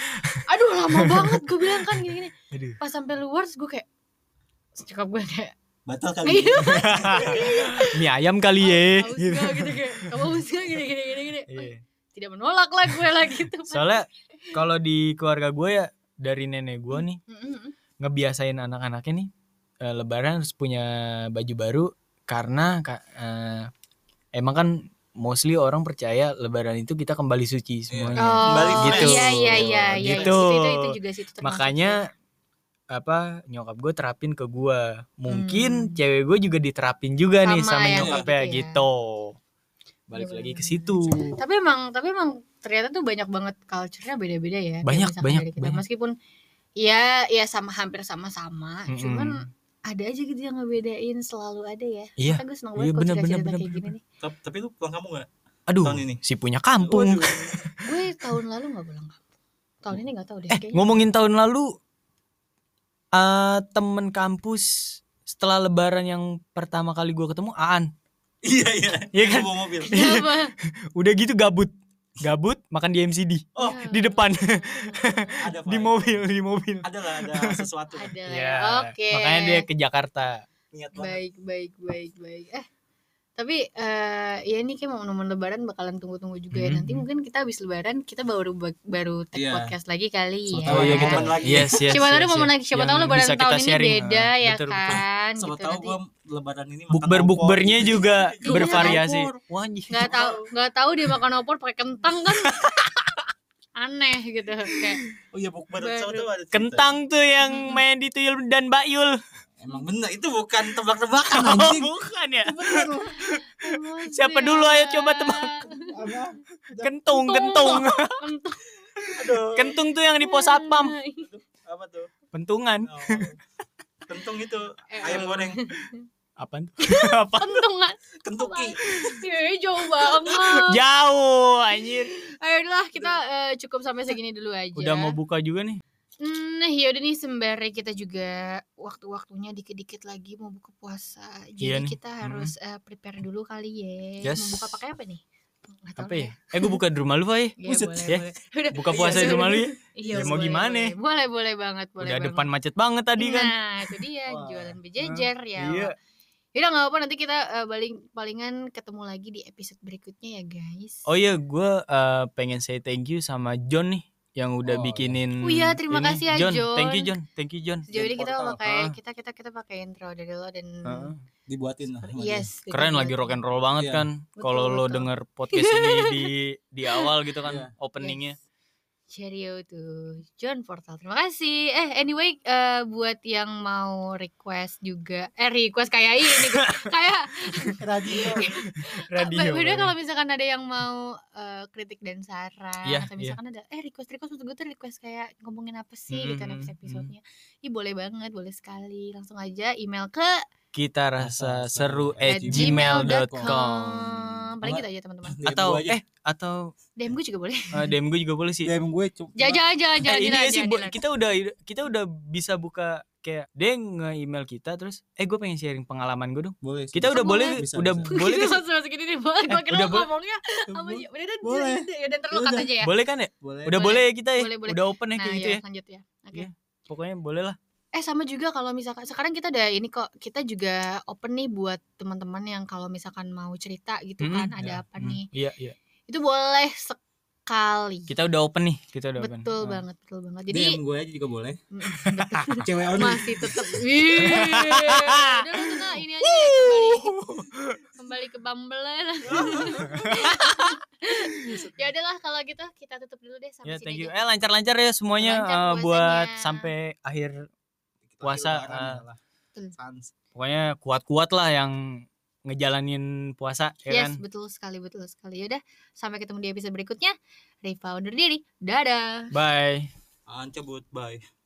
aduh lama banget gue bilang kan gini gini
Aduh.
pas sampai luar terus gue kayak cekap gue kayak
batal kali
ayo
mie ayam kali ya
Ah, haus
gitu.
gak gitu kayak kamu haus gak gini gini gini gini
Iya.
tidak menolak lah gue lah gitu
soalnya kalau di keluarga gue ya dari nenek gue nih
Mm-mm.
ngebiasain anak-anaknya nih eh, lebaran harus punya baju baru karena ka- eh, emang kan mostly orang percaya lebaran itu kita kembali suci semuanya
Kembali
oh
gitu.
iya iya iya iya
Gitu.
Itu- itu, itu juga sih itu termasuk sih.
makanya apa nyokap gue terapin ke gue
Hmm.
mungkin cewek gue juga diterapin juga nih
Sama
sama
ya, Iya,
nyokapnya
gitu ya.
gitu balik lagi ke situ
tapi emang tapi emang ternyata tuh banyak banget culture-nya beda-beda ya kayak
Banyak,
misalkan
banyak,
dari kita.
banyak.
meskipun ya ya sama hampir sama-sama
Mm-mm.
cuman ada aja gitu yang ngebedain selalu ada ya
Iya,
Makanya gue seneng banget
iya,
kalau
bener,
cerita-cerita
bener,
kayak
bener,
gini nih
Tap- tapi lu pulang kamu nggak
aduh
Tahun ini.
si punya kampung
Waduh.
gue tahun lalu nggak pulang kampung tahun ini nggak tahu deh
eh
kayaknya gitu.
ngomongin tahun lalu eh temen kampus setelah lebaran yang pertama kali gue ketemu Aan
iya iya
Iya kan?
bawa mobil
Kenapa?
udah gitu gabut gabut makan di MCD
oh
Ya.
di depan
ada apa
di mobil di mobil
ada lah ada sesuatu lah.
ada
Iya,
oke
makanya dia ke Jakarta
niat banget
baik baik baik baik eh tapi eh ya ini kayak momen-momen lebaran bakalan tunggu-tunggu juga ya
Mhm.
nanti mungkin kita habis lebaran kita baru baru take
Iya.
podcast lagi kali
Siapa
ya
tahu ada momen lagi.
Oh, iya, yes, yes,
siapa tahu
yes,
ada momen
yes.
lagi siapa
Yang
tahu lebaran
bisa kita
tahun ini
sharing.
beda
Ah,
ya
betul, betul.
kan
Siapa
gitu
tahu
nanti
gue lebaran ini makan
bukber
opor.
bukbernya juga
Iya,
bervariasi
opor.
Wah, anjing.
nggak tahu nggak tahu dia makan opor pakai kentang kan aneh gitu kayak
oh iya bukber
Baru.
siapa tahu ada cerita.
kentang tuh yang main di tuyul dan bayul
emang bener itu bukan tebak-tebakan
oh,
anjing
bukan ya
"Aduh,
Siapa dulu?
Zia."
Ayo coba tebak.
Apa?
kentung kentung
Kentang.
aduh
kentung tuh yang di pos satpam
apa tuh
pentungan
Oh. kentung itu
Eh,
ayam goreng
apa apa
kentung kan
kentuki
ya jauh banget
jauh anjir
Iya. ayolah Ah, ya kita eh, cukup sampai segini dulu aja
udah mau buka juga nih
Hmm, nah yaudah nih sembari kita juga waktu-waktunya dikit-dikit lagi mau buka puasa.
Iya
Jadi
nih,
kita harus eh, prepare dulu kali ya.
Yes.
Mau buka pakai apa nih? Nggak tahu
apa ya eh gue buka di rumah lu Fai
Iya,
Buset,
boleh,
ya.
boleh. Udah,
buka puasa di
Iya,
rumah lu ya
iya,
Ya, mau
boleh,
gimana?
Boleh, boleh, boleh banget, boleh
udah
banget.
depan macet banget tadi kan
Nah, itu dia
Wah.
jualan berjejer ya.
iya.
Yaudah nggak apa-apa nanti kita eh, paling palingan ketemu lagi di episode berikutnya ya guys.
oh iya gue eh, pengen say thank you sama John nih yang udah
Oh,
bikinin
Oh iya, terima kasih ya,
John. thank you
John.
John thank you John
Sejauh ini
Jadi
kita
portal.
pakai
Ah.
kita kita kita pakai intro dari lo dan
Heeh.
dibuatin lah sama dia.
yes.
iya. keren lagi rock and roll banget
Iya.
kan
Betul,
kalau lo
betul.
denger podcast ini di di awal gitu kan
Iya.
openingnya
Cheerio tuh John Portal. Terima kasih. Eh anyway eh, buat yang mau request juga eh request kayak ini gua- kayak
radio
radio.
beda
kali.
kalau misalkan ada yang mau eh, kritik dan saran
Iya,
atau
iya.
misalkan ada eh request request untuk gue tuh request kayak ngomongin apa sih gitu
Mhm,
next
mhm.
episode-nya. Ih boleh banget, boleh sekali. Langsung aja email ke
kita rasa seru at
at
gmail.com
Paling gitu aja teman-teman.
atau
Gua aja.
eh atau
DM gue juga boleh.
eh, DM gue juga boleh sih.
DM gue cuma
Jangan jangan jangan jangan.
Eh, ini
jangan,
ya sih
jangan,
Bo,
jangan.
kita udah kita udah bisa buka kayak dia nge-email kita terus eh gue pengen sharing pengalaman gue dong.
boleh sih.
Kita udah
Bisa,
boleh
bisa,
udah
bisa.
boleh tuh.
Gitu, Langsung masuk ini nih, boleh. Gue kira
Eh, udah
lo
boleh.
ngomongnya sama
Bo-
dia. Udah udah
Boleh.
udah udah ntar lo cut
Udah.
aja ya.
Boleh kan ya?
boleh
Udah boleh ya kita ya.
Boleh, boleh.
Udah open ya
Nah,
kayak gitu
ya,
ya.
lanjut ya. Oke.
Iya. Pokoknya boleh lah.
Eh sama juga kalau misalkan sekarang kita ada ini kok kita juga open nih buat teman-teman yang kalau misalkan mau cerita gitu
Mm-mm,
kan ada
ya,
apa
Hmm,
nih
Iya, iya.
itu boleh sekali.
Kita udah open nih, kita udah open.
betul
Ah.
banget betul banget. Jadi mm,
jadi DM gue aja juga boleh
betul,
cewek only
masih Iya. tetap. Wih, udah lu kena ini aja kembali kembali ke Bumble lah. ya udahlah kalau gitu kita tutup dulu deh sampai
Ya,
sini
thank you.
aja.
Eh, lancar-lancar ya semuanya
Lancar
eh, buat
puasanya.
sampai akhir
Kita
Puasa,
lebaran
ah.
ya lah.
Betul.
Sans.
pokoknya kuat-kuat lah yang ngejalanin puasa ya
Yes,
kan.
betul sekali, betul sekali. Yaudah, sampai ketemu di episode berikutnya. Riva undur diri. Dadah.
Bye.
Ancebut bye